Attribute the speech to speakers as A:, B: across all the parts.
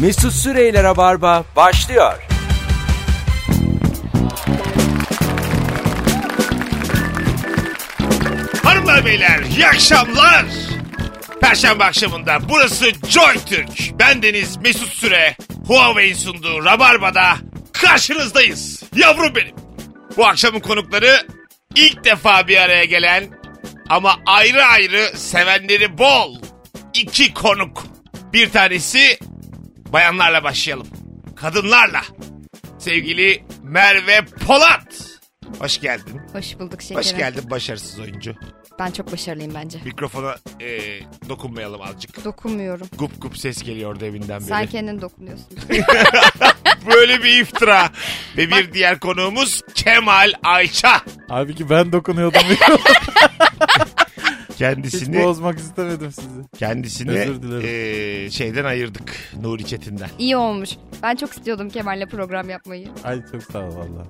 A: Mesut Süreyler'e barba başlıyor.
B: Hanımlar beyler iyi akşamlar. Perşembe akşamında burası Joy Türk. Ben Deniz Mesut Süre. Huawei'in sunduğu Rabarba'da karşınızdayız. Yavrum benim. Bu akşamın konukları ilk defa bir araya gelen ama ayrı ayrı sevenleri bol iki konuk. Bir tanesi bayanlarla başlayalım. Kadınlarla. Sevgili Merve Polat. Hoş geldin.
C: Hoş bulduk şekerim.
B: Hoş geldin başarısız oyuncu.
C: Ben çok başarılıyım bence.
B: Mikrofona e, dokunmayalım azıcık.
C: Dokunmuyorum.
B: Gup gup ses geliyor evinden beri.
C: Sen kendin dokunuyorsun.
B: Böyle bir iftira. Ve bir diğer konuğumuz Kemal Ayça.
D: Halbuki ben dokunuyordum. Hiç
B: Kendisini
D: bozmak istemedim sizi.
B: kendisini
D: Özür dilerim.
B: e, şeyden ayırdık. Nuri Çetin'den.
C: İyi olmuş. Ben çok istiyordum Kemal'le program yapmayı.
D: Ay çok sağ ol valla.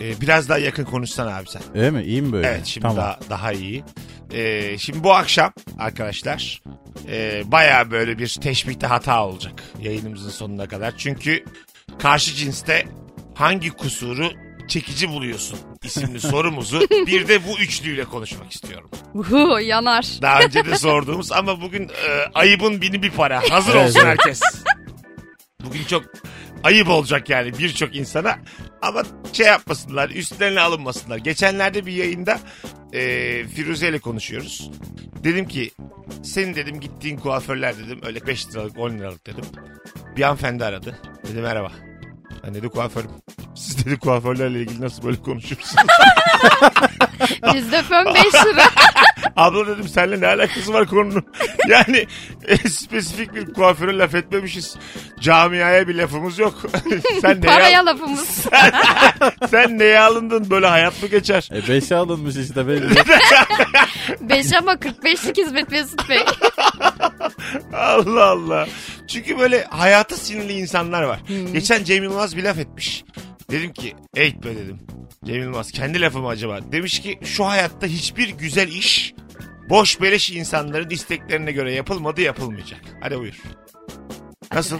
B: E, biraz daha yakın konuşsan abi sen.
D: Öyle mi? İyi mi böyle?
B: Evet şimdi
D: tamam.
B: daha, daha iyi. E, şimdi bu akşam arkadaşlar e, baya böyle bir teşbihte hata olacak yayınımızın sonuna kadar. Çünkü karşı cinste hangi kusuru çekici buluyorsun isimli sorumuzu bir de bu üçlüyle konuşmak istiyorum.
C: Uhu, yanar.
B: Daha önce de sorduğumuz ama bugün e, ayıbın bini bir para. Hazır
D: Evet,
B: olsun
D: evet.
B: herkes. Bugün çok ayıp olacak yani birçok insana. Ama şey yapmasınlar, üstlerine alınmasınlar. Geçenlerde bir yayında e, Firuze ile konuşuyoruz. Dedim ki senin dedim gittiğin kuaförler dedim öyle 5 liralık 10 liralık dedim. Bir hanımefendi aradı. Dedi merhaba. Ben dedi kuaförüm. Siz dedi kuaförlerle ilgili nasıl böyle konuşursunuz?
C: Bizde fön 5 lira.
B: Abla dedim seninle ne alakası var konunun? Yani e, spesifik bir kuaföre laf etmemişiz. Camiaya bir lafımız yok. sen, neye,
C: Paraya lafımız.
B: sen neye alındın? Böyle hayat mı geçer?
D: E beşe alınmış işte belli.
C: 5 ama 45'lik hizmet Mesut Bey.
B: Allah Allah. Çünkü böyle hayata sinirli insanlar var. Geçen Cem Yılmaz bir laf etmiş. Dedim ki eğit be dedim. Cem Yılmaz kendi lafı mı acaba? Demiş ki şu hayatta hiçbir güzel iş boş beleş insanların isteklerine göre yapılmadı yapılmayacak. Hadi buyur. Nasıl?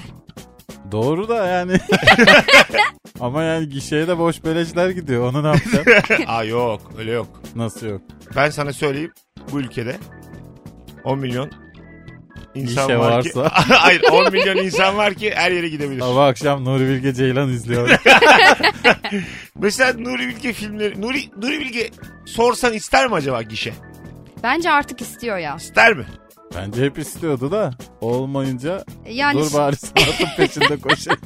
D: Doğru da yani. Ama yani gişeye de boş beleşler gidiyor. Onu ne yapacağım?
B: Aa yok öyle yok.
D: Nasıl yok?
B: Ben sana söyleyeyim bu ülkede 10 milyon insan
D: Gişe
B: var
D: varsa.
B: ki hayır 10 milyon insan var ki her yere gidebilir.
D: Sabah akşam Nuri Bilge Ceylan izliyor.
B: Mesela Nuri Bilge filmleri Nuri Nuri Bilge sorsan ister mi acaba gişe?
C: Bence artık istiyor ya.
B: İster mi?
D: Bence hep istiyordu da olmayınca
C: Yani
D: dur bari sanatın peşinde koşayım.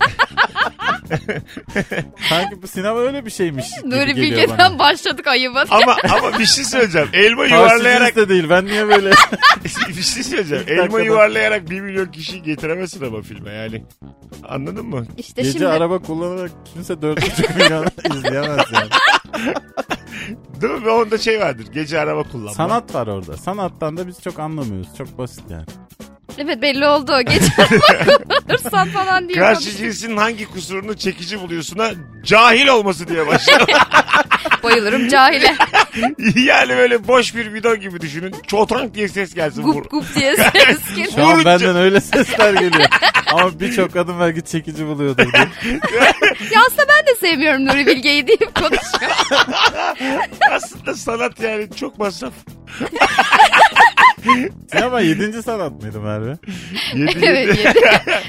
D: Sanki bu sinema öyle bir şeymiş. gibi
C: Nuri
D: geliyor bana.
C: Bilge'den başladık ayıba.
B: Ama ama bir şey söyleyeceğim. Elma yuvarlayarak
D: Karşı cins de değil. Ben niye böyle
B: bir şey söyleyeceğim.
D: İlk
B: Elma
D: dakikada.
B: yuvarlayarak 1 milyon kişi getiremezsin ama filme yani. Anladın mı?
C: İşte
D: gece
C: şimdi
D: araba kullanarak kimse 4,5 milyon izleyemez yani.
B: Değil mi? Ve Onda şey vardır. Gece araba kullanma.
D: Sanat var orada. Sanattan da biz çok anlamıyoruz. Çok basit yani.
C: evet belli oldu. Geçen olursan falan diye.
B: Karşı cinsin hangi kusurunu çekici buluyorsuna cahil olması diye başlıyor.
C: konuş- Bayılırım cahile.
B: yani böyle boş bir bidon gibi düşünün. Çotank diye ses gelsin. Vur.
C: gup gup diye ses gelir.
D: Şu an
B: Vurunca-
D: benden öyle sesler geliyor. Ama birçok kadın belki çekici buluyordur. diye.
C: Ya aslında ben de sevmiyorum Nuri Bilge'yi deyip konuşuyor.
B: Aslında sanat yani çok masraf.
D: Sinema 7. sanat mıydı Merve?
B: Yedi-
C: evet.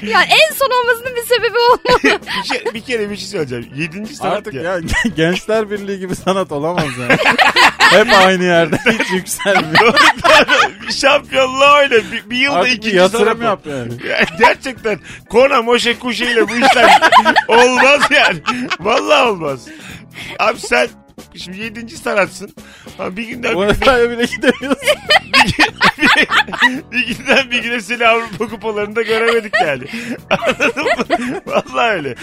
C: yani en son olmasının bir sebebi olmalı.
B: bir, şey- bir kere bir şey söyleyeceğim. Yedinci sanat
D: Artık
B: ya.
D: ya Gençler Birliği gibi sanat olamaz yani. Hep aynı yerde. Hiç yükselmiyor.
B: Bir Şampiyonluğa öyle. Bir, bir yılda
D: Artık bir
B: ikinci sanat.
D: yatırım
B: o.
D: yap yani.
B: Ya Gerçekten Kona Moşe Kuşe ile bu işler olmaz yani. Vallahi olmaz. Abi sen şimdi yedinci sanatsın. Ama bir günden bir,
D: Urfa'ya bile gidemiyorsun.
B: bir günden bir güne seni Avrupa kupalarında göremedik yani. Anladın mı? Vallahi öyle.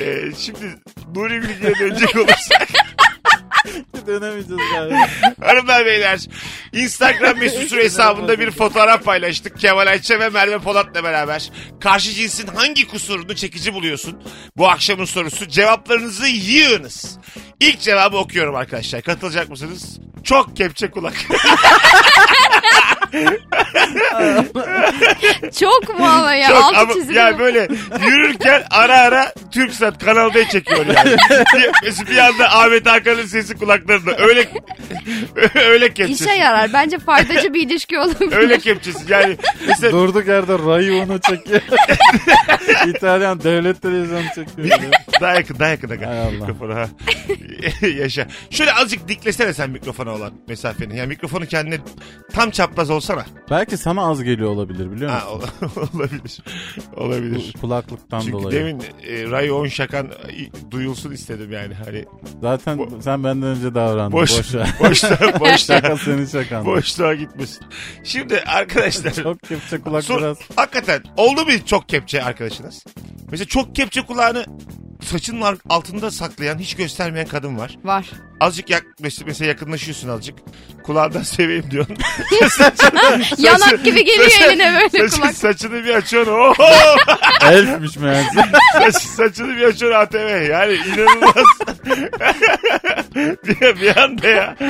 B: Ee, şimdi Nuri Bilge'ye dönecek olursak.
D: Dönemeyeceğiz yani.
B: Hanımlar beyler Instagram mesut süre hesabında bir fotoğraf paylaştık. Kemal Ayça ve Merve Polat'la beraber. Karşı cinsin hangi kusurunu çekici buluyorsun? Bu akşamın sorusu cevaplarınızı yığınız. İlk cevabı okuyorum arkadaşlar. Katılacak mısınız? Çok kepçe kulak.
C: Çok mu ama ya?
B: Çok
C: Altı
B: ama
C: çizili
B: yani
C: mi?
B: böyle yürürken ara ara Türksat Kanal D çekiyor yani. bir, mesela bir anda Ahmet Hakan'ın sesi kulaklarında öyle öyle
C: İşe
B: kepçesi.
C: yarar. Bence faydacı bir ilişki olabilir.
B: Öyle kepçesi yani. Mesela
D: Durduk yerde rayı onu çekiyor. İtalyan devlet televizyonu çekiyor.
B: daha yakın daha yakın. Daha
D: Hay Allah.
B: yakın. Mikrofonu ha. Yaşa. Şöyle azıcık diklesene sen mikrofona olan mesafeni. Yani mikrofonu kendine tam çapraz olsana.
D: Belki sana az geliyor olabilir biliyor
B: Ha,
D: musun?
B: ol- olabilir. Olabilir.
D: Bu kulaklıktan
B: Çünkü
D: dolayı.
B: demin e, Ray 10 şakan e, duyulsun istedim yani. Hani
D: Zaten
B: Bo-
D: sen benden önce davrandın.
B: boş,
D: Boşa.
B: boşta, boşta,
D: Şaka seni şakan.
B: boşluğa gitmesin. Şimdi arkadaşlar.
D: Çok kepçe kulak
B: sor-
D: biraz.
B: Hakikaten oldu mu çok kepçe arkadaşınız? Mesela çok kepçe kulağını saçının ar- altında saklayan, hiç göstermeyen kadın var.
C: Var.
B: Azıcık yak, mes- mesela yakınlaşıyorsun azıcık. Kulağından seveyim diyorsun.
C: Yanak gibi geliyor
B: Saçı-
C: eline böyle
B: Saçı,
C: kulak.
B: saçını bir açıyorsun. Oho!
D: Elfmiş meğerse.
B: Saç, saçını bir açıyor ATV. Yani inanılmaz. bir, bir anda ya.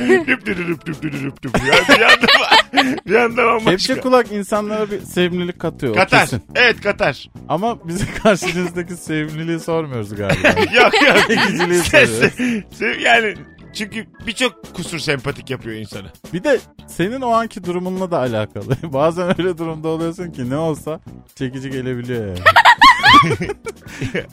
B: lüp lüp lüp lüp lüp lüp lüp. Yani bir anda bir anda bambaşka.
D: Kepçe kulak insanlara bir sevimlilik katıyor. o
B: Katar.
D: kesin.
B: Evet Katar.
D: Ama bize karşınızdaki sevimliliği sormuyoruz galiba.
B: Yok yok.
D: İkiciliği
B: Ses-
D: soruyor.
B: se- yani çünkü birçok kusur sempatik yapıyor insanı.
D: Bir de senin o anki durumunla da alakalı. Bazen öyle durumda oluyorsun ki ne olsa çekici gelebiliyor yani.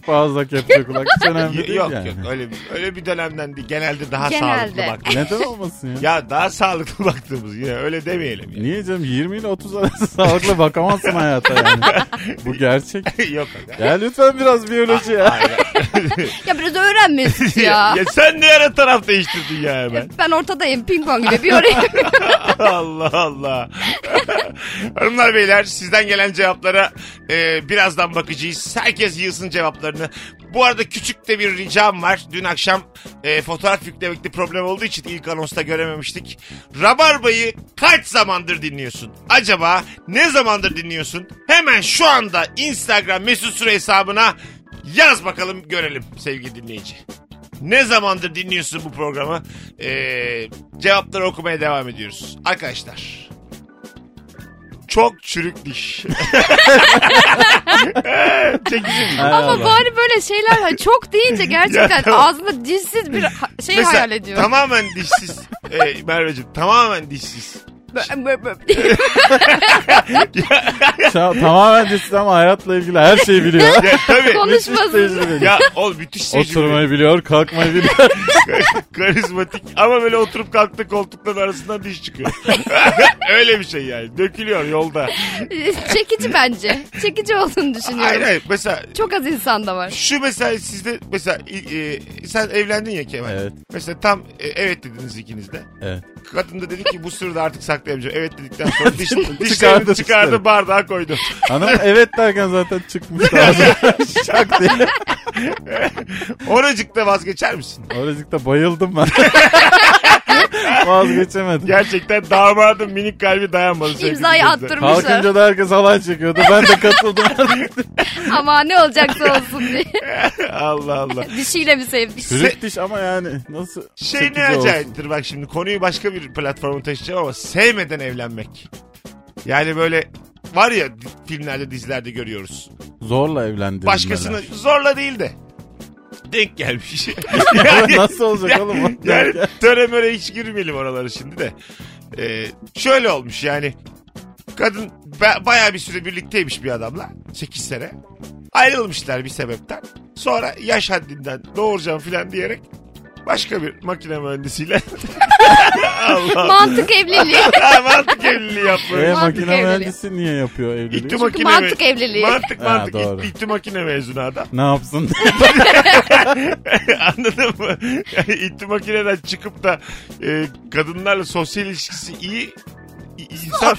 D: Fazla kepçe kulak hiç önemli
B: Y-
D: değil
B: yok
D: yani.
B: yok öyle bir, öyle bir dönemden değil. Genelde daha
C: Genelde.
B: sağlıklı bak.
D: Neden olmasın ya?
B: Ya daha sağlıklı baktığımız yine öyle demeyelim ya.
D: Niye canım 20 ile 30 arası sağlıklı bakamazsın hayata yani. Bu gerçek.
B: yok.
D: Ya lütfen biraz biyoloji ya.
B: Hayır.
C: Ya biraz öğrenmesin
B: ya.
C: ya.
B: sen ne ara taraf değiştirdin ya hemen.
C: Ben ortadayım ping pong gibi bir oraya.
B: Allah Allah. Hanımlar beyler sizden gelen cevaplara e, birazdan bakacağız. Herkes yığsın cevaplarını. Bu arada küçük de bir ricam var. Dün akşam e, fotoğraf yüklemekte problem olduğu için ilk anonsta görememiştik. Rabarba'yı kaç zamandır dinliyorsun? Acaba ne zamandır dinliyorsun? Hemen şu anda Instagram mesut süre hesabına yaz bakalım görelim sevgili dinleyici. Ne zamandır dinliyorsun bu programı? Ee, cevapları okumaya devam ediyoruz. Arkadaşlar. Çok çürük diş. Çekici mi?
D: Hay
C: Ama
D: Allah.
C: bari böyle şeyler ha, çok deyince gerçekten
B: Ya tamam.
C: ağzında dilsiz bir ha- şey
B: Mesela
C: hayal ediyorum.
B: tamamen dişsiz. Ee, Merveciğim tamamen dişsiz.
C: Bö- bö- bö-
D: Şa- tamamen ciddi ama hayatla ilgili her şeyi biliyor.
B: Ya tabii.
C: Konuş-
D: Müthiş tecrübeli.
B: ya ol müthiş tecrübeli.
D: Oturmayı biliyor, kalkmayı biliyor.
B: Karizmatik ama böyle oturup kalktı koltukların arasından diş çıkıyor. Öyle bir şey yani. Dökülüyor yolda.
C: Çekici bence. Çekici olduğunu düşünüyorum.
B: Hayır hayır. Mesela
C: Çok az insanda var.
B: Şu mesela sizde mesela e, e, sen evlendin ya Kemal.
D: Evet.
B: Mesela tam e, evet dediniz ikiniz de.
D: Evet.
B: Kadın da dedi ki bu sırrı da artık saklayamayacağım. Evet dedikten sonra diş, dişlerini
D: Çıkardı
B: çıkardı
D: dişleri.
B: bardağa koydu.
D: Hanım evet derken zaten çıkmış lazım. Şak diye.
B: Oracıkta vazgeçer misin?
D: Oracıkta bayıldım ben. Vazgeçemedim.
B: Gerçekten damadın minik kalbi dayanmadı. sevgili
C: İmzayı
B: dinleyiciler.
C: attırmışlar.
D: Kalkınca da herkes halay çekiyordu. Ben de katıldım.
C: Ama ne olacaksa olsun diye.
B: Allah Allah.
C: Dişiyle mi sevdik?
D: Çürük diş ama yani nasıl
B: Şey
D: çekici
B: ne
D: olsun?
B: acayiptir bak şimdi konuyu başka bir platforma taşıyacağım ama sevmeden evlenmek. Yani böyle var ya filmlerde dizilerde görüyoruz.
D: Zorla evlendirilmeler.
B: Başkasını zorla değil de denk gelmiş.
D: nasıl olacak
B: Ya-
D: oğlum?
B: yani töre möre hiç girmeyelim oralara şimdi de. Ee, şöyle olmuş yani. Kadın ba- bayağı bir süre birlikteymiş bir adamla. 8 sene. Ayrılmışlar bir sebepten. Sonra yaş haddinden doğuracağım filan diyerek başka bir makine mühendisiyle Allah
C: Mantık evliliği.
B: Allah mantık evliliği
D: E,
B: yapmış.
C: Mantık
D: makine
C: evliliği.
D: mühendisi niye yapıyor evliliği?
B: İtti makine
C: mantık
B: mü-
C: evliliği.
B: Mantık
D: Ha,
B: mantık.
D: doğru.
B: İtti, itti makine mezunu adam.
D: Ne yapsın?
B: Anladın mı? Yani itti makineden çıkıp da e, kadınlarla sosyal ilişkisi iyi i- insan.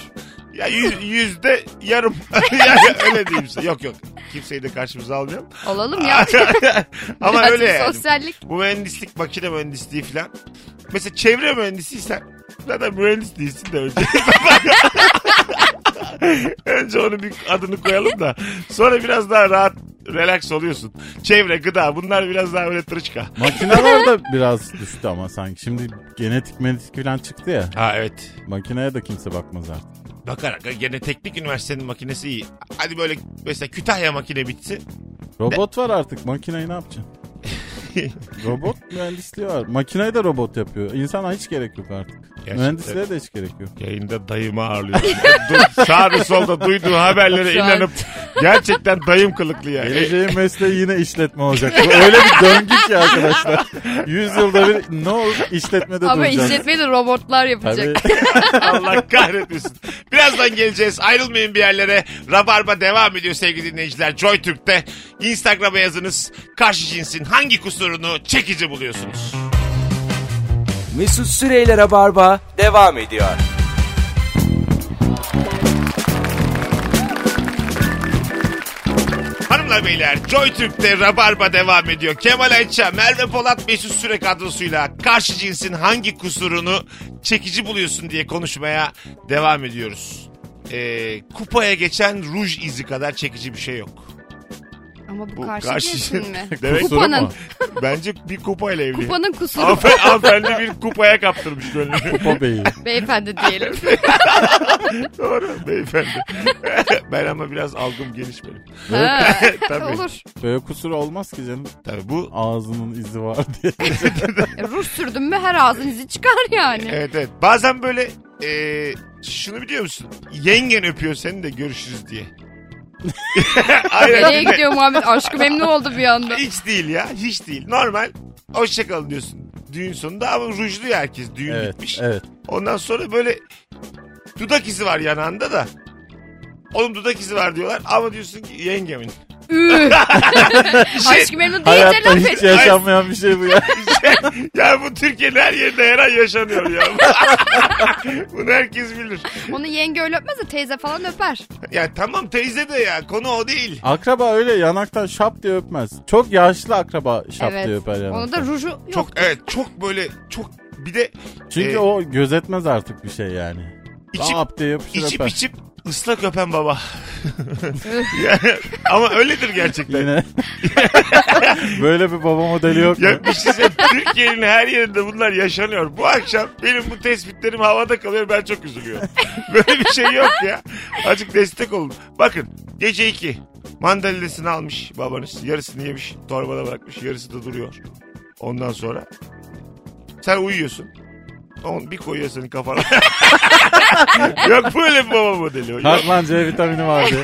B: Ya yü- yüzde yarım. yani öyle diyeyim size. Yok yok. Kimseyi de karşımıza almayalım.
C: Olalım ya.
B: Ama
C: Biraz
B: öyle yani.
C: Sosyallik.
B: Bu mühendislik makine mühendisliği falan. Mesela çevre mühendisiysen zaten mühendis değilsin de önce. önce onun bir adını koyalım da sonra biraz daha rahat relax oluyorsun. Çevre, gıda bunlar biraz daha böyle tırışka.
D: Makineler de biraz düştü ama sanki. Şimdi genetik menetik falan çıktı ya.
B: Ha evet.
D: Makineye de kimse bakmaz artık.
B: Bakarak gene teknik üniversitenin makinesi iyi. Hadi böyle mesela Kütahya makine bitsin.
D: Robot var artık. Makineyi ne yapacaksın? robot mühendisliği var. Makineyi de robot yapıyor. İnsana hiç gerek yok artık.
B: Gerçekten.
D: Mühendisliğe de hiç gerek yok.
B: Yayında dayımı ağırlıyorsun. Dur, sağda solda duyduğu haberlere
C: Şu an-
B: inanıp gerçekten dayım kılıklı yani.
D: Geleceğin mesleği yine işletme olacak. Bu Öyle bir döngü ki arkadaşlar. Yüzyılda bir ne olur işletmede
C: Ama
D: duracağız.
C: işletmeyi de robotlar yapacak.
D: Tabii.
B: Allah kahretmesin. Birazdan geleceğiz. Ayrılmayın bir yerlere. Rabarba devam ediyor sevgili dinleyiciler. Joy Türk'te. Instagram'a yazınız. Karşı cinsin hangi kusurunu çekici buluyorsunuz?
A: Mesut Süreyler'e barba devam ediyor.
B: Hanımlar beyler Joy Türk'te Rabarba devam ediyor. Kemal Ayça, Merve Polat, Mesut Süre kadrosuyla karşı cinsin hangi kusurunu çekici buluyorsun diye konuşmaya devam ediyoruz. Ee, kupaya geçen ruj izi kadar çekici bir şey yok.
C: Ama bu,
B: Bu
C: karşı,
B: karşı-
C: cinsin mi?
B: Demek-
D: Kusuru mu?
C: Kupanın,
B: Bence bir kupayla evli.
C: kupanın kusuru
B: Hanımefendi, hanımefendi bir kupaya kaptırmış gönlünü.
D: Kupa beyi.
C: beyefendi diyelim.
B: Doğru beyefendi. ben ama biraz algım geniş benim.
C: Ha,
B: Tabii.
C: Olur.
D: Böyle kusur olmaz ki canım.
B: Tabii bu
D: Ağzının izi var diye.
C: E, Ruj sürdün mü her ağzın izi çıkar yani.
B: evet evet. Bazen böyle e, şunu biliyor musun? Yengen öpüyor seni de görüşürüz diye. Aynen.
C: Nereye gidiyor Muhammed? Aşkım memnun oldu bir anda.
B: Hiç değil ya. Hiç değil. Normal. Hoşçakalın diyorsun. Düğün sonunda ama rujlu ya herkes. Düğün bitmiş.
D: evet, evet.
B: Ondan sonra böyle dudak izi var yanağında da. Oğlum dudak izi var diyorlar ama diyorsun ki yengemin.
C: Üh,
B: Bir şey-
C: Aşkım memnun deyince
D: Hayatta
C: laf
D: hiç
C: et.
D: yaşanmayan bir şey bu ya.
B: ya bu Türkiye'nin her yerinde her an yaşanıyor ya. Bunu herkes bilir.
C: Onu yenge öyle öpmez de teyze falan öper.
B: Ya tamam teyze de ya konu o değil.
D: Akraba öyle yanaktan şap diye öpmez. Çok yaşlı akraba şap
C: evet.
D: diye öper yanaktan.
C: Onu da ruju yok.
B: Çok evet çok böyle çok bir de
D: Çünkü
B: Ee,
D: o gözetmez artık bir şey yani.
B: içip
D: Lap diye yapışır
B: içip
D: öper.
B: içip ıslak öpen baba. Ya, ama öyledir gerçekten.
D: Yine. Böyle bir baba modeli yok mu?
B: Ya bir şey söyleyeyim, Türkiye'nin her yerinde bunlar yaşanıyor. Bu akşam benim bu tespitlerim havada kalıyor ben çok üzülüyorum. Böyle bir şey yok ya. Azıcık destek olun. Bakın gece 2 mandalinesini almış babanız. Yarısını yemiş torbada bırakmış yarısı da duruyor. Ondan sonra sen uyuyorsun. On bir koyuyor senin kafana. yok böyle bir baba modeli. Yok.
D: Kartman C vitamini var diye.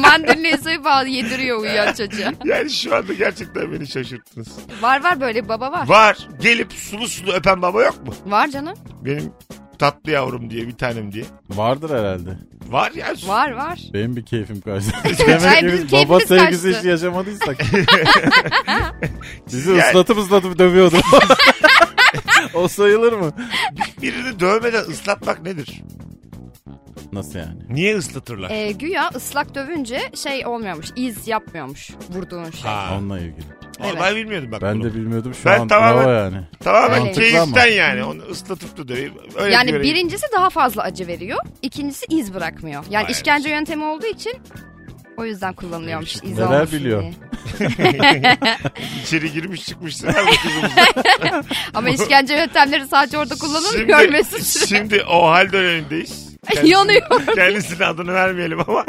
C: Mandalinayı soyup al yediriyor uyuyan çocuğa.
B: Yani şu anda gerçekten beni şaşırttınız.
C: Var var böyle bir baba var.
B: Var gelip sulu sulu öpen baba yok mu?
C: Var canım.
B: Benim tatlı yavrum diye bir tanem diye.
D: Vardır herhalde.
B: Var ya.
C: Var var.
D: Benim bir keyfim kaçtı.
C: Ay,
D: Demek ki
C: bizim
D: biz baba
C: keyfimiz
D: sevgisi
C: kaçtı.
D: hiç yaşamadıysak. Bizi
B: Yani-
D: ıslatıp ıslatıp dövüyordu. o sayılır mı?
B: Birini dövmeden ıslatmak nedir?
D: Nasıl yani?
B: Niye ıslatırlar?
C: Ee, güya ıslak dövünce şey olmuyormuş. iz yapmıyormuş vurduğun şey.
B: ha.
D: Onunla ilgili.
B: Vallahi
C: Evet.
B: bilmiyordum bak
D: Ben
B: bunu.
D: de bilmiyordum şu
B: Ben
D: an.
B: tamamen-
D: Bravo yani.
B: Tamamen
C: Mantıklı
B: keyiften
D: ama.
B: yani. Onu ıslatıp da döveyim. Öyle
C: yani
B: göreyim.
C: birincisi daha fazla acı veriyor. ikincisi iz bırakmıyor. Yani
B: Vay
C: işkence yöntemi olduğu için o yüzden kullanılıyormuş iz
D: Neler
C: olmasın
D: biliyor?
C: diye.
B: İçeri girmiş çıkmışsın. Hadi kızımız.
C: Ama işkence yöntemleri sadece orada kullanılmıyor
B: Şimdi-
C: Mesut Süre.
B: Şimdi o hal dönemindeyiz. Kendisi-
C: Yanıyor.
B: Kendisinin adını vermeyelim ama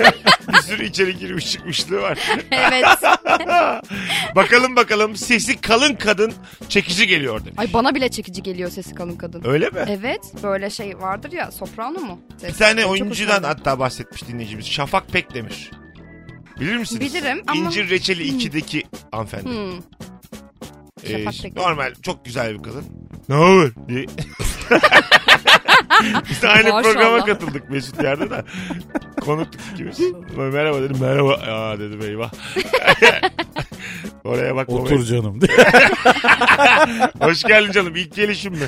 B: bir sürü içeri girmiş çıkmışlığı var.
C: evet.
B: bakalım bakalım sesi kalın kadın çekici geliyor demiş.
C: Ay bana bile çekici geliyor sesi kalın kadın.
B: Öyle mi?
C: Evet böyle şey vardır ya soprano mu?
B: Bir
C: Ses.
B: tane
C: Çok
B: oyuncudan
C: hoşuma
B: hatta bahsetmiş dinleyicimiz. Şafak Pekdemir. Bilir misiniz?
C: Bilirim ama-
B: İncir Reçeli 2'deki hanımefendi.
C: gidiyor. Hmm.
B: Ee,
C: Şafak Pekdemir.
B: normal çok güzel bir kadın. Ne olur diye. Biz de aynı
C: Maşallah.
B: programa katıldık Mesut yerde de. Konuktuk ikimiz. Böyle Merhaba dedim. Merhaba. Aa dedim eyvah. Oraya bak.
D: Otur canım.
B: Hoş geldin canım. İlk gelişim mi?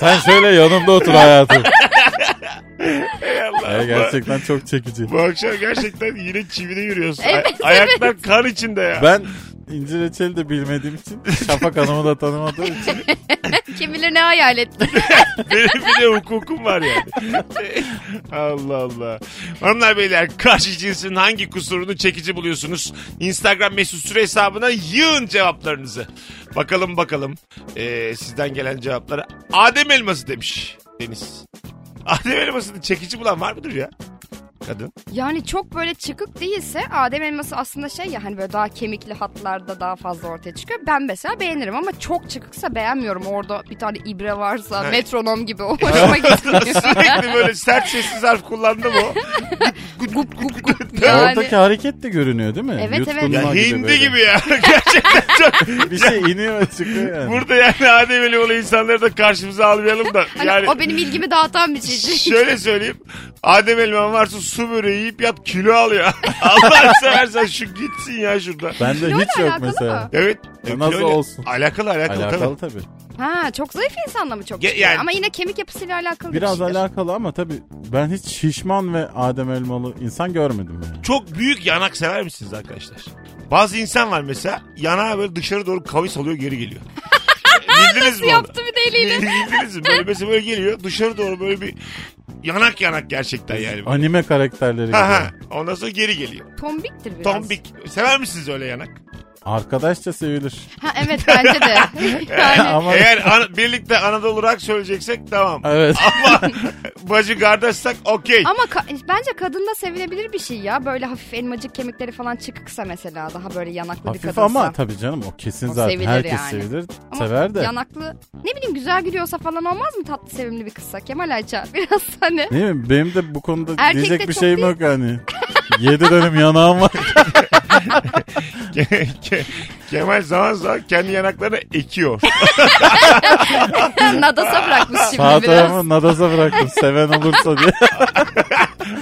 D: Sen şöyle yanımda otur hayatım.
B: Ey Allah.
D: Ya gerçekten çok çekici.
B: Bu akşam gerçekten yine çivide yürüyorsun. Ay-
C: Evet,
B: Ayaklar kan içinde ya.
D: Ben İnci reçeli de bilmediğim için. Şafak Hanım'ı da tanımadığım için.
C: Kim bilir ne hayal etti.
B: Benim bir de hukukum var yani. Allah Allah. Hanımlar beyler karşı cinsin hangi kusurunu çekici buluyorsunuz? Instagram mesut süre hesabına yığın cevaplarınızı. Bakalım bakalım ee, sizden gelen cevaplara. Adem elması demiş Deniz. Adem elmasını çekici bulan var mıdır ya? Kadın.
C: Yani çok böyle çıkık değilse Adem elması aslında şey ya hani böyle daha kemikli hatlarda daha fazla ortaya çıkıyor. Ben mesela beğenirim ama çok çıkıksa beğenmiyorum. Orada bir tane ibre varsa
B: Evet.
C: metronom gibi o hoşuma gitmiyor.
B: Sürekli böyle sert sessiz harf kullandı mı o?
C: gup gup gup yani.
D: Oradaki hareket de görünüyor değil mi?
C: Evet, evet.
D: Yutkunma
B: Ya hindi
D: böyle.
B: gibi ya. Gerçekten çok
D: Bir şey iniyor çıkıyor yani.
B: Burada yani Adem ile olan insanları da karşımıza almayalım da.
C: Hani
B: Yani
C: o benim ilgimi dağıtan bir şey.
B: şöyle söyleyeyim. Adem Elman varsa su böreği yiyip yat kilo al ya. Allah seversen şu gitsin ya şurada.
D: Bende
C: Kiloyla
D: hiç yok
C: alakalı
D: mesela.
C: mı?
B: Evet.
D: Ya nasıl
B: Kiloyla-
D: olsun?
B: Alakalı alakalı,
D: Alakalı
B: tabii.
D: tabii.
C: ha çok zayıf insanla mı çok
B: Ya-
C: çıkıyor?
B: yani-
C: Ama yine kemik yapısıyla alakalı bir şey.
D: Biraz
C: şeydir.
D: alakalı ama tabii ben hiç şişman ve Adem Elmalı insan görmedim yani.
B: Çok büyük yanak sever misiniz arkadaşlar? Bazı insan var mesela yanağı böyle dışarı doğru kavis alıyor geri geliyor. Bildiniz mi onu?
C: Yaptı bir de eliyle.
B: Bildiniz mi? Böyle mesela böyle geliyor dışarı doğru böyle bir yanak yanak gerçekten yani.
D: Anime karakterleri gibi.
B: Aha, ondan sonra geri geliyor.
C: Tombiktir biraz.
B: Tombik. Sever misiniz öyle yanak?
D: Arkadaşça sevilir.
C: Ha evet bence de. yani
D: Ama
B: Eğer ana- birlikte Anadolu rock söyleyeceksek tamam.
D: evet.
B: Ama bacı kardeşsek okey.
C: ama ka- bence kadında sevilebilir bir şey ya. Böyle hafif elmacık kemikleri falan çıkıksa mesela daha böyle yanaklı bir
D: Hafif
C: kadınsa.
D: ama tabii canım o kesin
C: O
D: zaten.
C: sevilir
D: Herkes
C: yani.
D: sevilir.
C: Ama
D: sever de.
C: Yanaklı ne bileyim güzel gülüyorsa falan olmaz mı tatlı sevimli bir kızsa Kemal Ayça biraz hani.
D: Değil mi? Benim de bu konuda
C: Erkek de
D: diyecek bir
C: çok
D: şeyim
C: değil.
D: yok yani. Yedi dönüm yanağım var.
B: Ke- ke- Kemal zaman zaman kendi yanaklarına ekiyor.
C: Nadasa bırakmış
D: Sağ
C: şimdi biraz.
D: tarafı nadasa bıraktım. Seven olursa diye.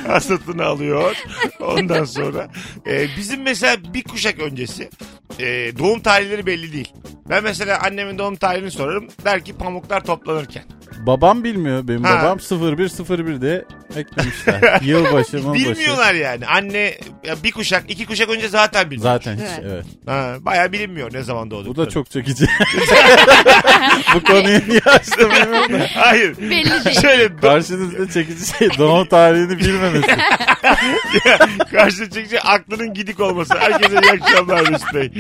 B: Hasatını alıyor. Ondan sonra e, bizim mesela bir kuşak öncesi e, doğum tarihleri belli değil. Ben mesela annemin doğum tarihini sorarım. Der ki pamuklar toplanırken.
D: Babam bilmiyor. Benim
B: Ha.
D: babam 0101 diye eklemişler. Yılbaşı, yılbaşı.
B: Bilmiyorlar yani. Anne ya bir kuşak, iki kuşak önce zaten bilmiyor.
D: Zaten hiç
C: Evet.
D: evet.
B: Ha, bayağı bilinmiyor ne zaman doğdu.
D: Bu da çok çekici. bu konuyu niye açtım bilmiyorum da.
B: Hayır.
C: Belli değil.
B: Şöyle
D: Karşınızda çekici şey doğum tarihini bilmemesi.
B: Karşı çıkınca aklının gidik olması. Herkese iyi akşamlar Mesut Bey.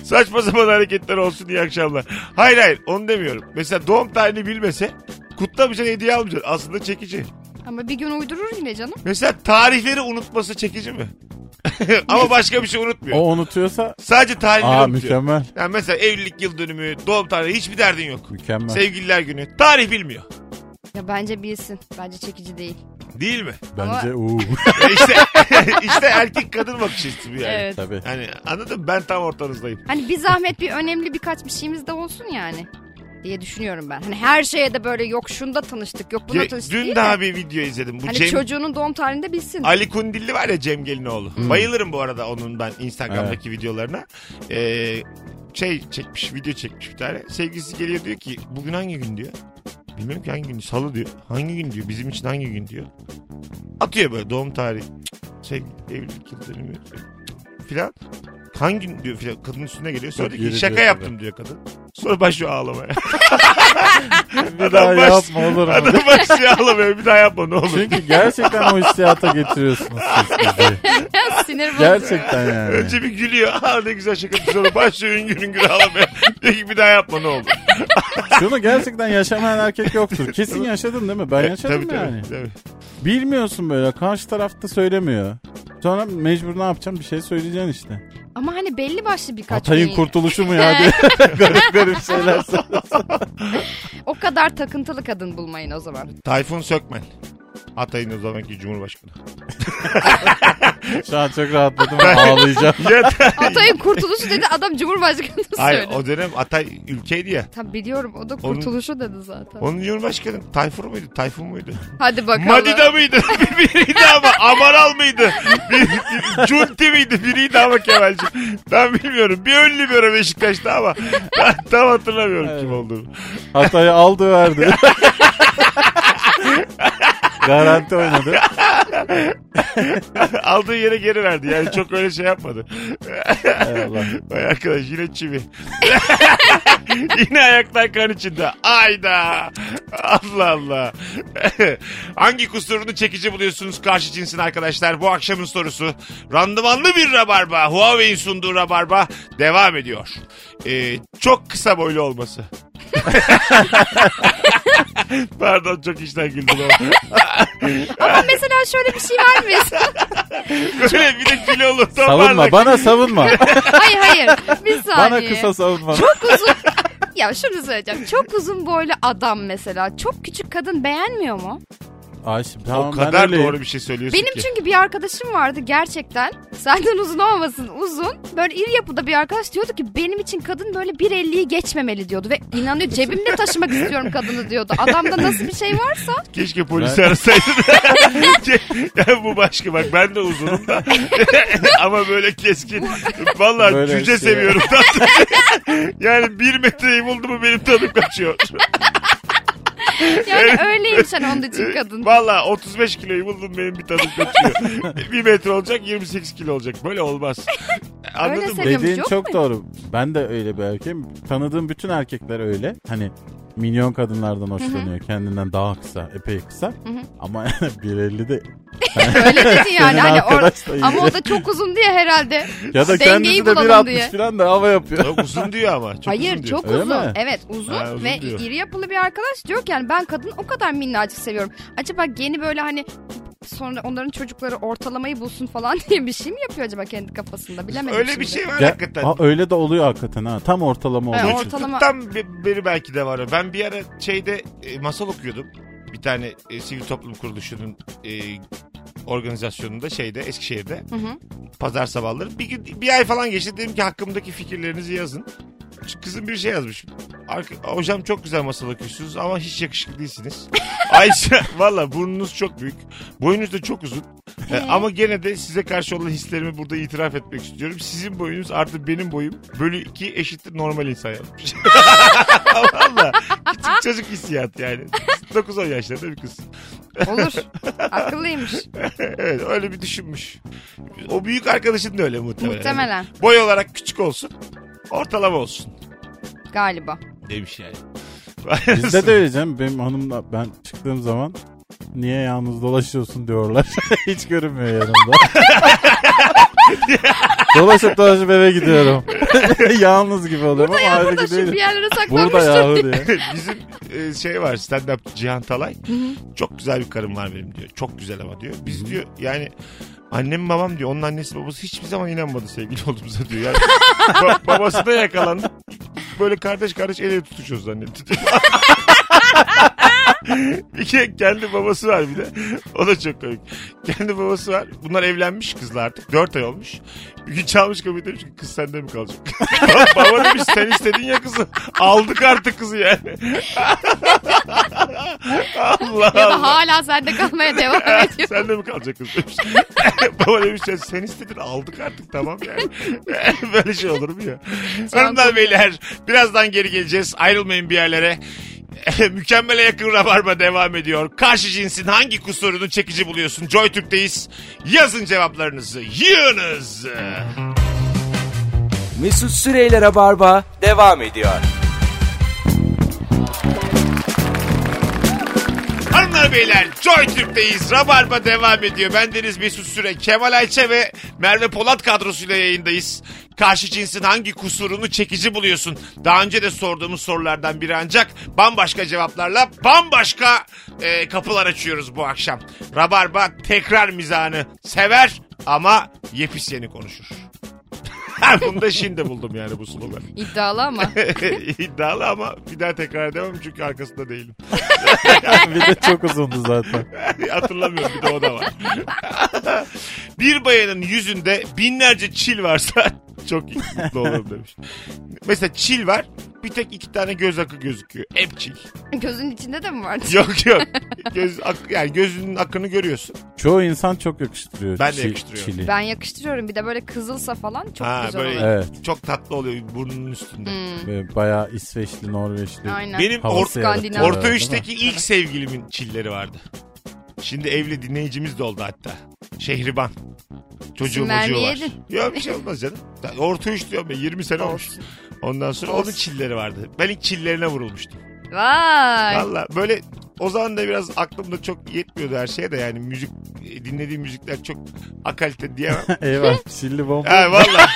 B: Saçma sapan hareketler olsun iyi akşamlar. Hayır hayır onu demiyorum. Mesela doğum tarihini bilmese kutlamayacaksın hediye almayacaksın. Aslında çekici.
C: Ama bir gün uydurur yine canım.
B: Mesela tarihleri unutması çekici mi? Ama başka bir şey unutmuyor.
D: O unutuyorsa
B: Sadece tarihleri
D: aa
B: unutuyor.
D: mükemmel.
B: Yani mesela evlilik yıl dönümü, doğum tarihi hiçbir derdin yok.
D: Mükemmel.
B: Sevgililer günü. Tarih bilmiyor.
C: Ya bence bilsin. Bence çekici değil.
B: Değil mi?
D: Bence uuu.
B: işte, işte erkek kadın bakış açısı bu yani.
C: Evet.
D: Tabii.
B: Yani anladın mı? Ben tam ortanızdayım.
C: Hani bir zahmet bir önemli birkaç bir şeyimiz de olsun yani diye düşünüyorum ben. Hani her şeye de böyle yok şunda tanıştık yok buna
B: Ge-
C: tanıştık
B: dün
C: değil
B: daha
C: de.
B: bir video izledim. Bu
C: Hani
B: Cem,
C: çocuğunun doğum tarihinde bilsin.
B: Ali Kundilli var ya Cem Gelinoğlu.
D: Hmm.
B: Bayılırım bu arada onun ben Instagram'daki videolarına. Ee, şey çekmiş, video çekmiş bir tane. Sevgilisi geliyor diyor ki bugün hangi gün diyor. Bilmiyorum ki hangi gün salı diyor. Hangi gün diyor bizim için hangi gün diyor. Atıyor böyle doğum tarihi. Cık, Sevgili evlilik yıl dönümü cık, filan. Hangi gün diyor filan. Kadın üstüne geliyor. Sonra
D: Çok
B: diyor ki
D: geri
B: şaka
D: diyor
B: yaptım diyor kadın. Sonra başlıyor ağlamaya.
D: Bir daha
B: baş-
D: yapma olur mu?
B: Adam başlıyor ağlamaya. Bir daha yapma ne olur.
D: Çünkü gerçekten o hissiyata getiriyorsunuz siz bizi.
C: Sinir bozucu.
D: Gerçekten yani.
B: Önce bir gülüyor. Aa ne güzel şaka. Sonra başlıyor hüngür hüngür ağlamaya. Diyor ki bir daha yapma ne olur.
D: Şunu gerçekten yaşamayan erkek yoktur. Kesin yaşadın değil mi? Ben yaşadım
B: E, tabii,
D: yani.
B: Tabii,
D: Bilmiyorsun böyle karşı tarafta söylemiyor. Sonra mecbur ne yapacağım bir şey söyleyeceksin işte.
C: Ama hani belli başlı birkaç
D: Hatay'ın
C: gün-
D: kurtuluşu mu ya diye garip garip şeyler söylüyor.
C: O kadar takıntılı kadın bulmayın o zaman.
B: Tayfun Sökmen. Hatay'ın o zamanki Cumhurbaşkanı.
D: Şu an çok rahatladım ağlayacağım.
B: Yeter.
C: Hatay'ın kurtuluşu dedi adam Cumhurbaşkanı
B: Hayır
C: söyledi.
B: o dönem Hatay ülkeydi ya.
C: Tabii biliyorum o da kurtuluşu dedi zaten.
B: Onun Cumhurbaşkanı Tayfur muydu? Tayfun muydu?
C: Hadi bakalım.
B: Madida mıydı? Bir- biriydi ama Amaral mıydı? Bir, bir- Cunti miydi? Biriydi ama Kemal'cim. Ben bilmiyorum. Bir ön libero Beşiktaş'ta ama ben tam hatırlamıyorum kim olduğunu.
D: Hatay'ı aldı verdi. Garanti oynadı.
B: Aldığı yere geri verdi. Yani çok öyle şey yapmadı.
D: Allah.
B: Vay arkadaş yine çivi. yine ayaklar kan içinde. Ayda. Allah Allah. Hangi kusurunu çekici buluyorsunuz karşı cinsin arkadaşlar? Bu akşamın sorusu. Randımanlı bir rabarba. Huawei'in sunduğu rabarba devam ediyor. Ee, çok kısa boylu olması. Pardon çok işten güldüm ama.
C: Ama mesela şöyle bir şey var mı?
B: Böyle bir de kilolu.
D: savunma
B: toparlak.
D: bana savunma.
C: hayır hayır. Bir saniye.
D: bana kısa savunma.
C: Çok uzun. ya şunu söyleyeceğim. Çok uzun boylu adam mesela. Çok küçük kadın beğenmiyor mu?
D: Ay, şimdi tamam,
B: o
D: ben
B: kadar
D: öyleyim.
B: doğru bir şey söylüyorsun
C: Benim
B: ki.
C: çünkü bir arkadaşım vardı gerçekten. Senden uzun olmasın uzun. Böyle iri yapıda bir arkadaş diyordu ki benim için kadın böyle 1.50'yi geçmemeli diyordu. Ve inanıyor cebimde taşımak istiyorum kadını diyordu. Adamda nasıl bir şey varsa.
B: Keşke polisi arasaydın. ya bu başka bak ben de uzunum da. Ama böyle keskin. Vallahi
D: Böyle
B: cüce
D: şey.
B: seviyorum. yani bir metreyi buldu mu benim tadım kaçıyor.
C: Yani öyleymiş hani onun için kadın.
B: Vallahi 35 kiloyu buldum benim bir tadım kaçıyor. bir metre olacak 28 kilo olacak. Böyle olmaz. Anladın mı?
C: seviyorum. Seviyormuş,
D: Dediğin
C: yok
D: çok
C: mu?
D: doğru. Ben de öyle bir erkeğim. Tanıdığım bütün erkekler öyle. Hani milyon kadınlardan hoşlanıyor. Kendinden daha kısa, epey kısa. Ama 1.50 de
C: Öyle dedi yani.
D: Senin
C: Hani or-
D: arkadaş da iyi.
C: ama o da çok uzun diye herhalde.
D: ya da
C: Dengeyi
D: kendisi de
C: bulalım
D: 1.60
C: diye.
D: falan da hava yapıyor.
B: Çok uzun diyor ama. Çok
C: Hayır
B: uzun diyor.
C: çok
D: Öyle
C: uzun.
D: mi?
C: Evet uzun,
B: Ha, uzun
C: ve
B: diyor.
C: iri yapılı bir arkadaş diyor ki yani ben kadını o kadar minnacık seviyorum. Acaba geni böyle hani sonra onların çocukları ortalamayı bulsun falan diye bir şey mi yapıyor acaba kendi kafasında bilemedim
B: Öyle
C: şimdi.
B: bir şey var
D: Ya-
B: hakikaten.
D: Aa, öyle de oluyor hakikaten ha. Tam ortalama
C: Ha,
D: olduğu için.
C: ortalama-
B: Çocukluktan be- beri belki de var. Ben bir ara şeyde e, masal okuyordum. Bir tane e, sivil toplum kuruluşunun e, organizasyonunda şeyde Eskişehir'de
C: Hı hı.
B: pazar sabahları. Bir, gün- bir ay falan geçti dedim ki hakkımdaki fikirlerinizi yazın. Şu Kızım bir şey yazmış. Arka- Hocam çok güzel masal okuyorsunuz ama hiç yakışıklı değilsiniz. Ayrıca valla burnunuz çok büyük. Boyunuz da çok uzun. E, ama gene de size karşı olan hislerimi burada itiraf etmek istiyorum. Sizin boyunuz artı benim boyum bölü 2 eşittir normal insan yapmış. valla küçük çocuk hissiyat yani. 9-10 yaşlarında bir kız.
C: Olur. Akıllıymış.
B: evet öyle bir düşünmüş. O büyük arkadaşın da öyle muhtemelen.
C: Muhtemelen.
B: Boy olarak küçük olsun. Ortalama olsun.
C: Galiba.
B: Demiş yani.
D: Bizde de öyle canım. Benim hanımla ben çıktığım zaman niye yalnız dolaşıyorsun diyorlar. Hiç görünmüyor yanımda. Dolaşıp dolaşıp eve gidiyorum. yalnız gibi oluyorum
C: Burada
D: ama ayrı
C: yanında da şimdi bir
D: gidiyorum.
C: yerlere
D: Burada
C: saklanmıştır.
D: yahu diye.
B: Bizim e, şey var stand up Cihan Talay. Çok güzel bir karım var benim diyor. Çok güzel ama diyor. Biz diyor yani annem babam diyor. Onun annesi babası hiçbir zaman inanmadı sevgili olduğumuza diyor. Yani, ba- babası da yakalandı. Böyle kardeş kardeş el ele tutuşuyoruz zannetti. diyor. bir ke- kendi babası var bir de. O da çok komik. Kendi babası var. Bunlar evlenmiş kızlar artık. Dört ay olmuş. Bir gün çalmış kapıyı demiş ki kız sende mi kalacak? Baba demiş sen istedin ya kızı. Aldık artık kızı yani. Allah
C: Ya da
B: Allah.
C: hala sende kalmaya devam ediyor.
B: Sende mi kalacak kız demiş. Baba demiş sen, sen istedin aldık artık tamam yani. Böyle şey olur mu ya? Hanımlar beyler birazdan geri geleceğiz. Ayrılmayın bir yerlere. Mükemmele yakın rabarba devam ediyor. Karşı cinsin hangi kusurunu çekici buluyorsun? JoyTürk'teyiz. Yazın cevaplarınızı. Yığınız.
A: Mesut Süreyler'e barba devam ediyor.
B: Hanımlar beyler Joy Türk'teyiz. Rabarba devam ediyor. Ben Deniz Mesut Süre, Kemal Ayçe ve Merve Polat kadrosuyla yayındayız. Karşı cinsin hangi kusurunu çekici buluyorsun? Daha önce de sorduğumuz sorulardan biri ancak bambaşka cevaplarla bambaşka e, kapılar açıyoruz bu akşam. Rabarba tekrar mizahını sever ama yepyeni konuşur. Bunu da şimdi buldum yani bu sloganı.
C: İddialı ama.
B: İddialı ama bir daha tekrar edemem çünkü arkasında değilim.
D: bir de çok uzundu zaten.
B: Hatırlamıyorum bir de o da var. bir bayanın yüzünde binlerce çil varsa çok iyi, mutlu olurum demiş. Mesela çil var bir tek iki tane göz akı gözüküyor. Hep çil.
C: Gözün içinde de mi vardı?
B: Yok yok. Göz, ak- yani gözünün akını görüyorsun.
D: Çoğu insan çok yakıştırıyor.
B: Ben de
D: çi-
B: yakıştırıyorum.
D: çili.
C: Ben yakıştırıyorum. Bir de böyle kızılsa falan çok
B: Ha,
C: güzel Hmm.
B: böyle-
C: oluyor.
D: Evet.
B: Çok tatlı oluyor burnunun üstünde.
D: Böyle Bayağı İsveçli, Norveçli.
C: Aynen.
B: Benim
D: havası
B: or-
D: yaratıyor,
C: Skandinav.
D: değil mi?
B: orta üçteki ilk sevgilimin çilleri vardı. Şimdi evli dinleyicimiz de oldu hatta. Şehriban. Çocuğu
C: İsim
B: mocuğu var.
C: vermeyelim.
B: Yok bir şey olmaz canım. Ta- Orta üç diyorum ben 20 sene olmuş. Ondan sonra onun çilleri vardı. Ben ilk çillerine vurulmuştum.
C: Vay.
B: Valla böyle o zaman da biraz aklımda çok yetmiyordu her şeye de yani müzik e, dinlediğim müzikler çok akalite diyemem.
D: Eyvah çilli bomba.
B: Ha valla.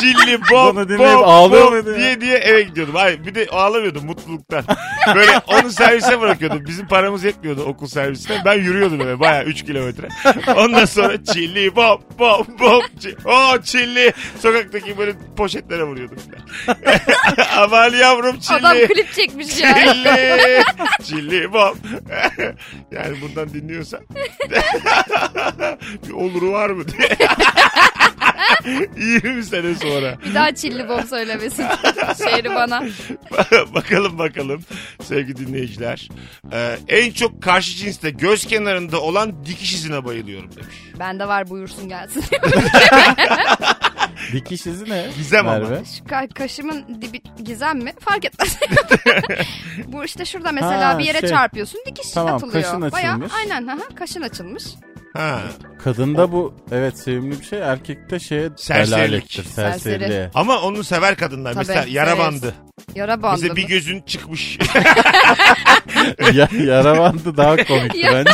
B: Çilli bom
D: Bunu dinleyip
B: bom
D: ağlıyor
B: bom
D: muydu ya?
B: diye diye eve gidiyordum. Hayır bir de ağlamıyordum mutluluktan. Böyle onu servise bırakıyordum. Bizim paramız yetmiyordu okul servisine. Ben yürüyordum eve baya 3 kilometre. Ondan sonra çilli bom bom bom. çi- O çilli. Sokaktaki böyle poşetlere vuruyordum. Aman yavrum çilli.
C: Adam klip çekmiş ya.
B: Çilli. Çilli bom. yani bundan dinliyorsan. bir oluru var mı diye. 20 sene sonra.
C: Bir daha çilli bom söylemesin. Şehri bana.
B: bakalım bakalım sevgili dinleyiciler. Ee, en çok karşı cinste göz kenarında olan dikiş izine bayılıyorum demiş.
C: Bende var buyursun gelsin.
D: Dikiş izi ne?
B: Gizem ama.
D: Merve?
C: Şu ka- kaşımın dibi gizem mi? Fark etmez. Bu işte şurada mesela
D: Ha,
C: bir yere
D: şey.
C: çarpıyorsun dikiş
D: Tamam,
C: atılıyor.
D: kaşın
C: Bayağı-
D: açılmış.
C: aynen ha kaşın açılmış.
B: Ha.
D: Kadında bu evet sevimli bir şey. Erkekte şeye
B: Serserilik.
D: delalettir.
C: Serseri.
D: Serseriliğe.
B: Ama onu sever kadınlar.
C: Tabii,
B: Mesela yara
C: severiz.
B: bandı.
C: Yara bandı.
B: Bize bir
C: mı?
B: gözün çıkmış.
D: ya, yarabandı daha komikti
C: Ya.
D: bence.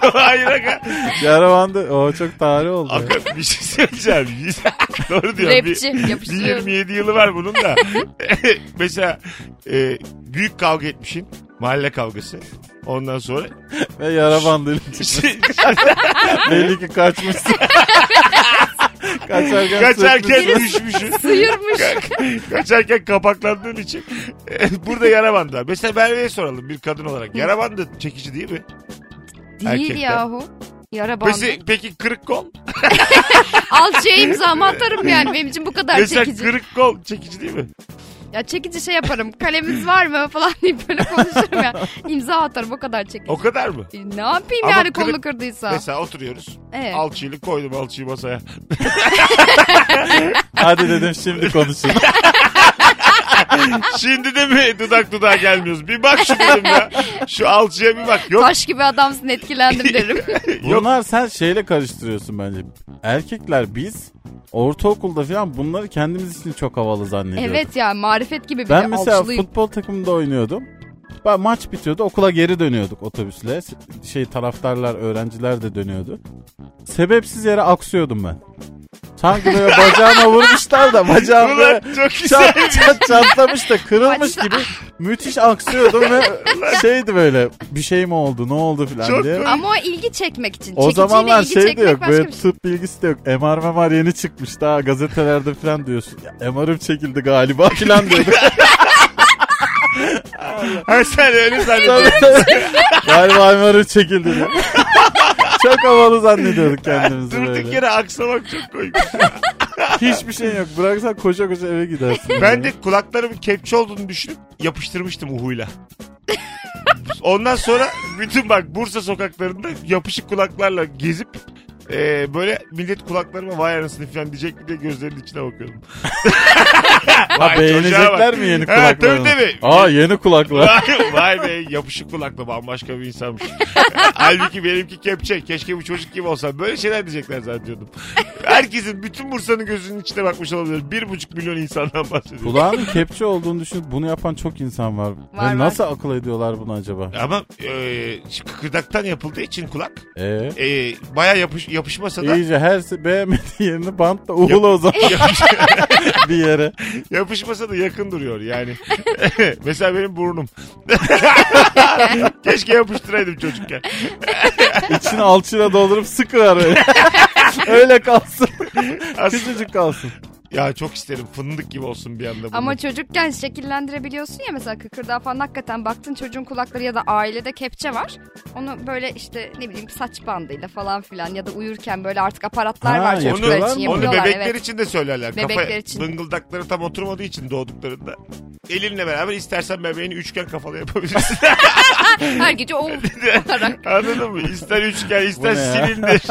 B: Hayır aga.
D: Yarabandı o çok tarih oldu.
B: Aga bir şey söyleyeceğim. Doğru diyorum. Bir-
C: Rapçi
B: Bir
C: yapıştırıyorum.
B: 27 yılı var bunun da. Mesela e, büyük kavga etmişin. Mahalle kavgası. Ondan sonra.
D: Ve yarabandıyla belli ki kaçmışsın. Kaçarken,
B: kaçarken
D: sırtını-
B: düşmüşsün.
C: Sıyırmış.
B: Kaçarken kapaklandığın için. Burada yara bandı var. Mesela Merve'ye soralım bir kadın olarak. Yara bandı çekici değil mi?
C: Değil
B: Erkekler.
C: yahu. Yara bandı.
B: Peki, peki kırık kol?
C: Alçıya imzamı atarım yani benim için bu kadar
B: Mesela
C: çekici.
B: kırık kol çekici değil mi?
C: Ya çekici şey yaparım. Kalemiz var mı falan deyip böyle konuşurum ya. İmza atarım o kadar çekici.
B: O kadar mı?
C: E, Ne yapayım
B: Ama
C: yani
B: kırık-
C: kolunu kırdıysa.
B: Mesela oturuyoruz.
C: Evet.
B: Alçıyla koydum alçıyı masaya.
D: Hadi dedim şimdi konuşun.
B: Şimdi de mi dudak dudağa gelmiyoruz? Bir bak şu dedim ya. Şu alçıya bir bak. Yok
C: Taş gibi adamsın etkilendim derim.
D: Bunlar sen şeyle karıştırıyorsun bence. Erkekler biz ortaokulda falan bunları kendimiz için çok havalı zannediyorduk.
C: evet ya marifet gibi bir
D: Ben mesela
C: alçılıyım.
D: futbol takımında oynuyordum. Ba- Maç bitiyordu okula geri dönüyorduk otobüsle. S- Şey taraftarlar öğrenciler de dönüyordu. Sebepsiz yere aksıyordum ben. Sanki böyle bacağıma vurmuşlar da bacağım
B: Ulan
D: böyle
B: çok güzel.
D: çat, çat- çatlamış da kırılmış
C: Acısı-
D: gibi müthiş aksıyordum ve şeydi böyle bir şey mi oldu ne oldu filan
B: Çok
D: diye.
B: komik.
C: Ama o ilgi çekmek için.
D: O
C: Çekiciyle
D: zamanlar
C: ilgi
D: şey de
C: çekmek
D: yok
C: başka
D: böyle
C: bir şey.
D: tıp bilgisi de yok. MR MR yeni çıkmış daha gazetelerde falan diyorsun. Ya, MR'ım çekildi galiba falan diyorduk.
B: Ha sen öyle zannediyorsun.
D: Galiba MR'ım çekildi. diye. Çok havalı zannediyorduk kendimizi
B: Durduk
D: böyle.
B: yere aksamak çok komik.
D: Hiçbir şey yok. Bıraksan koşa koşa eve gidersin.
B: Ben de kulaklarımın kepçe olduğunu düşünüp yapıştırmıştım uhuyla. Ondan sonra bütün bak Bursa sokaklarında yapışık kulaklarla gezip e, böyle millet kulaklarıma vay anasını falan diyecek mi diye gözlerinin içine bakıyordum.
D: Ha,
B: Vay, çocuğa
D: beğenecekler
B: bak.
D: mi yeni
B: Ha, tabii,
D: kulaklarını?
B: tabii.
D: Aa yeni kulaklar.
B: Vay, vay be yapışık kulaklı bambaşka bir insanmış. Halbuki benimki kepçe. Keşke bu çocuk gibi olsam. Böyle şeyler diyecekler zannediyordum. Herkesin bütün Bursa'nın gözünün içine bakmış olabilir. Bir buçuk milyon insandan bahsediyorum.
D: Kulağının kepçe olduğunu düşünüp bunu yapan çok insan var. Ve
C: var.
D: nasıl akıl ediyorlar bunu acaba?
B: Ama e, şu kıkırdaktan yapıldığı için kulak
D: Ee,
B: e, baya yapış, yapışmasa da
D: iyice her se- beğenmediği yerini bantla uğula o zaman bir yere.
B: yapışmasa da yakın duruyor yani. Mesela benim burnum. Keşke yapıştıraydım çocukken.
D: İçini alçıyla doldurup sıkıver öyle. öyle kalsın.
B: Aslında,
D: Küçücük kalsın.
B: ya çok isterim fındık gibi olsun bir anda. burnum.
C: Ama çocukken şekillendirebiliyorsun ya mesela kıkırdağı falan hakikaten baktın çocuğun kulakları ya da ailede kepçe var. Onu böyle işte ne bileyim saç bandıyla falan filan ya da uyurken böyle artık aparatlar
D: Ha,
C: var çocuklar
D: yapıyorlar
C: için
D: mı?
B: Onu
C: yapıyorlar.
B: bebekler
C: evet.
B: için de söylerler.
C: Bebekler
B: Kafa,
C: için.
B: Dıngıldakları tam oturmadığı için doğduklarında. Elinle beraber istersen bebeğini üçgen kafalı yapabilirsin.
C: Her gece o olarak.
B: Anladın mı? İster üçgen ister
D: Bu ne ya?
B: silindir.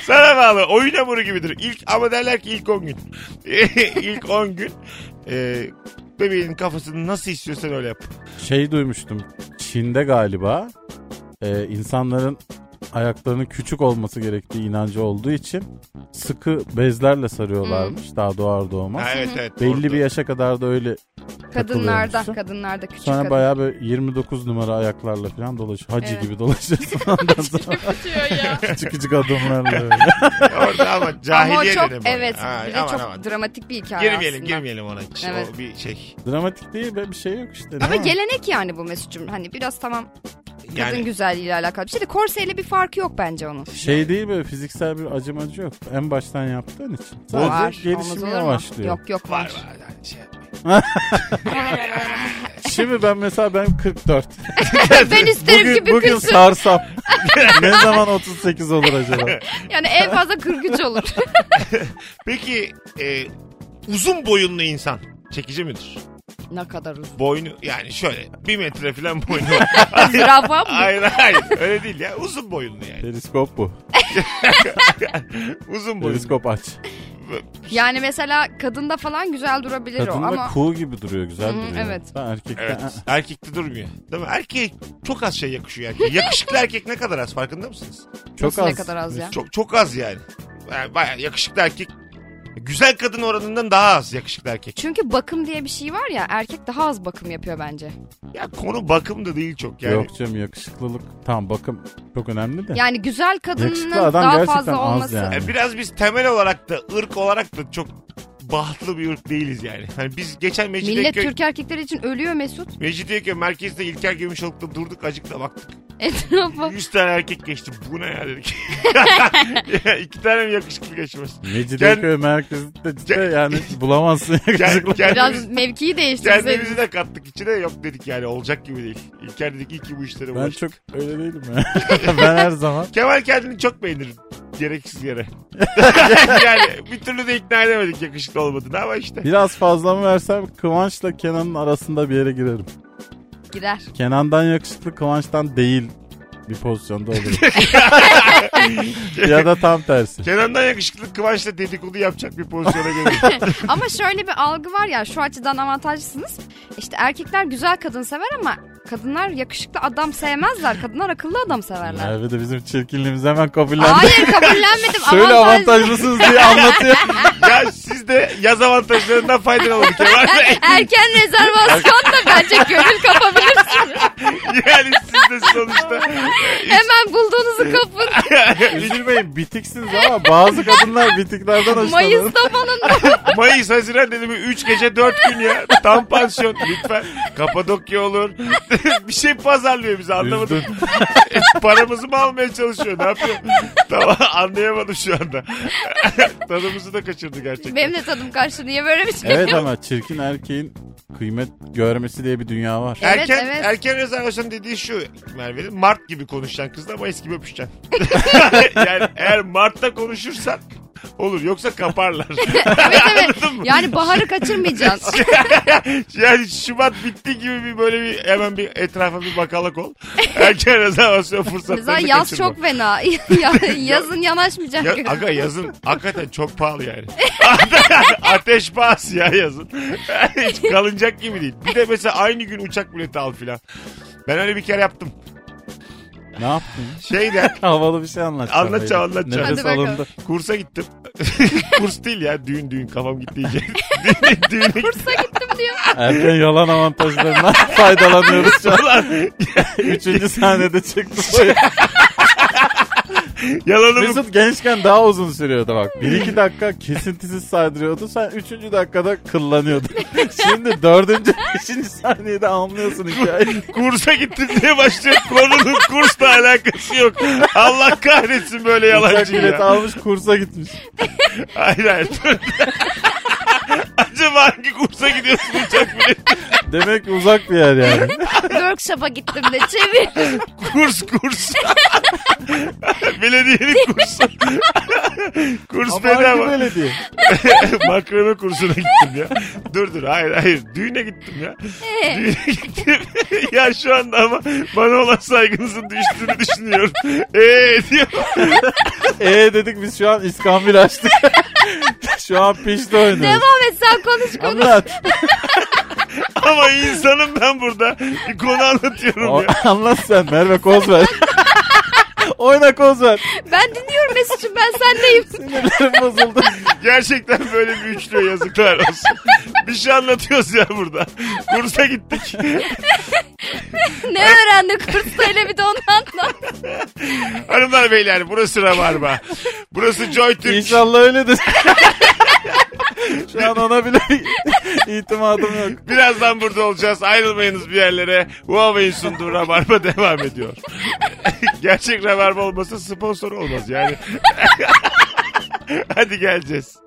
B: Sana bağlı. Oyun hamuru gibidir. İlk, ama derler ki ilk 10 gün. ilk 10 gün e, bebeğin kafasını nasıl istiyorsan öyle yap.
D: Şey duymuştum. Çin'de galiba e, insanların ayaklarının küçük olması gerektiği inancı olduğu için sıkı bezlerle
C: Hmm.
D: sarıyorlarmış daha doğar doğmaz.
B: Ha, evet evet.
D: Belli
B: doğru.
D: bir yaşa kadar da öyle
C: Kadınlarda,
D: takılıyormuşsun.
C: kadınlarda küçük
D: Sonra
C: kadın.
D: bayağı böyle 29 numara ayaklarla falan dolaşıyor. Hacı
C: Evet.
D: gibi dolaşıyorsun ondan sonra
E: Tutuyor ya.
D: küçük küçük adımlarla öyle.
B: Orada ama
C: Ama o
B: cahiliye
C: çok
B: dönemi. o.
C: evet
B: Ha,
C: bir de
B: aman
C: çok
B: aman.
C: dramatik bir hikaye
B: Girmeyelim
C: aslında.
B: girmeyelim ona hiç.
C: Evet.
B: O bir şey.
D: Dramatik değil be bir şey yok işte.
C: Ama
D: değil mi?
C: gelenek yani bu Mesut'cum. Hani biraz tamam kadın
B: Yani
C: güzelliğiyle alakalı bir şey de korseyle bir farkı yok bence onun.
D: Şey değil böyle fiziksel bir acımacı yok. En baştan yaptığın için. Sadece
C: Var, olmaz
D: gelişimi
C: olur mu?
D: yavaşlıyor.
C: Yok yok
B: var
C: var.
B: var. Yani şey yapmayın.
D: Şimdi ben mesela ben 44.
C: ben isterim
D: bugün
C: ki bir
D: bugün
C: kızsın.
D: sarsam. ne zaman 38 olur acaba?
C: Yani en fazla 43 olur.
B: Peki e, uzun boyunlu insan çekici midir?
C: ne kadar uzun.
B: Boynu yani şöyle bir metre falan boynu.
C: Zürafa mı?
B: hayır hayır öyle değil ya uzun boyunlu yani.
D: Periskop bu.
B: Uzun boyunlu.
D: Periskop aç.
C: Yani mesela kadında falan güzel durabilir o
D: Kadın da
C: ama
D: kuğu gibi duruyor güzel
C: Hı,
D: duruyor.
C: evet.
D: Ha, erkekte
B: Evet.
D: ha.
B: Erkekte durmuyor. Değil mi? Erkeğe çok az şey yakışıyor erkeğe. Yakışıklı erkek ne kadar az farkında mısınız?
D: çok
C: Nasıl
D: az.
C: ne kadar az ya?
B: Çok çok az yani. yani bayağı yakışıklı erkek güzel kadın oranından daha az yakışıklı erkek.
C: Çünkü bakım diye bir şey var ya erkek daha az bakım yapıyor bence.
B: Ya konu bakım da değil çok yani.
D: Yok canım yakışıklılık. Tamam bakım çok önemli de.
C: Yani güzel kadının
D: Yakışıklı adam
C: daha
D: gerçekten
C: fazla
D: az
C: olması.
D: yani.
B: Yani biraz biz temel olarak da ırk olarak da çok bahtlı bir ırk değiliz yani. Hani biz geçen
C: Millet
B: Mecidiyeköy,
C: Türk erkekleri için ölüyor Mesut.
B: Mecidiyeköy merkezde İlker Gümüşoluk'ta durduk acıkla baktık.
C: Etrafa.
B: 100 tane erkek geçti. Bu ne ya dedik. İki tane mi yakışıklı geçmez?
D: Mecidiyeköy merkezinde cidden yani bulamazsın
B: Kend-
D: yakışıklı.
C: Biraz
B: kendimiz,
C: mevkiyi değiştirseydiniz.
B: kendimizi de kattık içine. Yok dedik yani olacak gibi değil. İlker dedik iyi ki bu işlere
D: Ben
B: bulaştık.
D: çok öyle değilim ya. ben her zaman.
B: Kemal kendini çok beğenir. Gereksiz yere. yani bir türlü de ikna edemedik yakışıklı olmadığını ama işte.
D: Biraz fazla mı versem Kıvanç'la Kenan'ın arasında bir yere girerim.
C: Girer.
D: Kenan'dan yakışıklı Kıvanç'tan değil bir pozisyonda olurum. ya da tam tersi.
B: Kenan'dan yakışıklı Kıvanç'la dedikodu yapacak bir pozisyona geliyor.
C: Ama şöyle bir algı var ya şu açıdan avantajlısınız. İşte erkekler güzel kadın sever ama kadınlar yakışıklı adam sevmezler. Kadınlar akıllı adam severler.
D: Merve de bizim çirkinliğimizi hemen kabullendi.
C: Hayır kabullenmedim.
D: Şöyle
C: Avantajlı.
D: avantajlısınız diye anlatıyor.
B: ya siz de yaz avantajlarından faydalanın Kemal Bey.
C: Erken rezervasyonla bence gönül kapabilirsiniz.
B: Yani siz de sonuçta.
C: Hemen bulduğunuzu kapın.
D: Üzülmeyin bitiksiniz ama bazı kadınlar bitiklerden hoşlanır.
C: Mayıs'ta falan.
B: Mayıs, Haziran dedim 3 gece 4 gün ya. Tam pansiyon lütfen. Kapadokya olur. bir şey pazarlıyor bizi anlamadım.
D: Üzdün.
B: Paramızı mı almaya çalışıyor ne yapıyor? tamam anlayamadım şu anda. Tadımızı da kaçırdı gerçekten.
C: Benim de tadım kaçtı. Niye böyle bir şey?
D: Evet ama çirkin erkeğin kıymet görmesi diye bir dünya var.
C: Evet,
B: Erken,
C: evet.
B: erken rezervasyon dediği şu Merve'nin Mart gibi konuşacaksın kızla Mayıs gibi öpüşeceksin. yani eğer Mart'ta konuşursan olur yoksa kaparlar.
C: Evet evet.
B: Anladın mı?
C: Yani baharı kaçırmayacaksın.
B: Yani Şubat bitti gibi bir böyle bir hemen bir etrafa bir bakalak ol. Erken rezervasyon fırsatlarını
C: Mesela yaz
B: kaçırma.
C: çok fena. Ya- Yazın yanaşmayacak.
B: Ya, aga yazın hakikaten çok pahalı yani. Ateş pahası ya yazın. Hiç kalınacak gibi değil. Bir de mesela aynı gün uçak bileti al filan. Ben öyle bir kere yaptım.
D: Ne yaptın?
B: Şeyde
D: Havalı bir şey anlatacağım.
B: Anlatacağım,
D: Beyler.
B: anlatacağım.
D: Nefes
C: Hadi bakalım.
D: alındı.
B: kursa gittim. Kurs değil ya düğün düğün kafam gitti iyice. Düğüne- düğüne
C: Kursa gittim diyor.
D: Erken yalan avantajlarından faydalanıyoruz şu an.
B: Ulan,
D: Üçüncü sahnede çıktı soyu.
B: Yalanımı
D: Mesut gençken daha uzun sürüyordu bak. Bir iki dakika kesintisiz saydırıyordu. Sen üçüncü dakikada kıllanıyordun. Şimdi dördüncü, beşinci saniyede anlıyorsun hikayeyi.
B: kursa gittim diye başlıyor. Konunun kursla alakası yok. Allah kahretsin böyle
D: Uçak
B: yalancı
D: bileti
B: ya.
D: almış kursa gitmiş.
B: Hayır hayır. Acaba hangi kursa gidiyorsun uçak bileti?
D: Demek ki uzak bir yer yani.
C: Workshop'a gittim de çevir.
B: Kurs kurs. Belediyenin kursu. Kurs
D: Ama hangi
B: bedava.
D: belediye?
B: Makrame kursuna gittim ya. Dur dur hayır hayır. Düğüne gittim ya. Düğüne gittim. ya şu anda ama bana olan saygınızın düştüğünü düşünüyorum. Eee diyor.
D: Ee dedik biz şu an iskambil açtık. şu an pişti oynuyoruz.
C: Devam et sen konuş konuş.
D: Anlat.
B: Ama insanım ben burada. Bir konu anlatıyorum
D: O-
B: ya.
D: anlat sen Merve Kozver. Oyna Kozver.
C: Ben dinliyorum Mesut'cum ben sendeyim.
D: Sinirlerim bozuldu.
B: Gerçekten böyle bir üçlü yazıklar olsun. bir şey anlatıyoruz ya burada. Kursa gittik.
C: ne öğrendi kursta hele bir de onu anlat.
B: Hanımlar beyler burası Rabarba. Burası JoyTürk.
D: İnşallah öyledir. Şu an ona bile itimadım yok.
B: Birazdan burada olacağız. Ayrılmayınız bir yerlere. Huawei'in sunduğu Rabarba devam ediyor. Gerçek Rabarba olmasa sponsor olmaz yani. Hadi geleceğiz.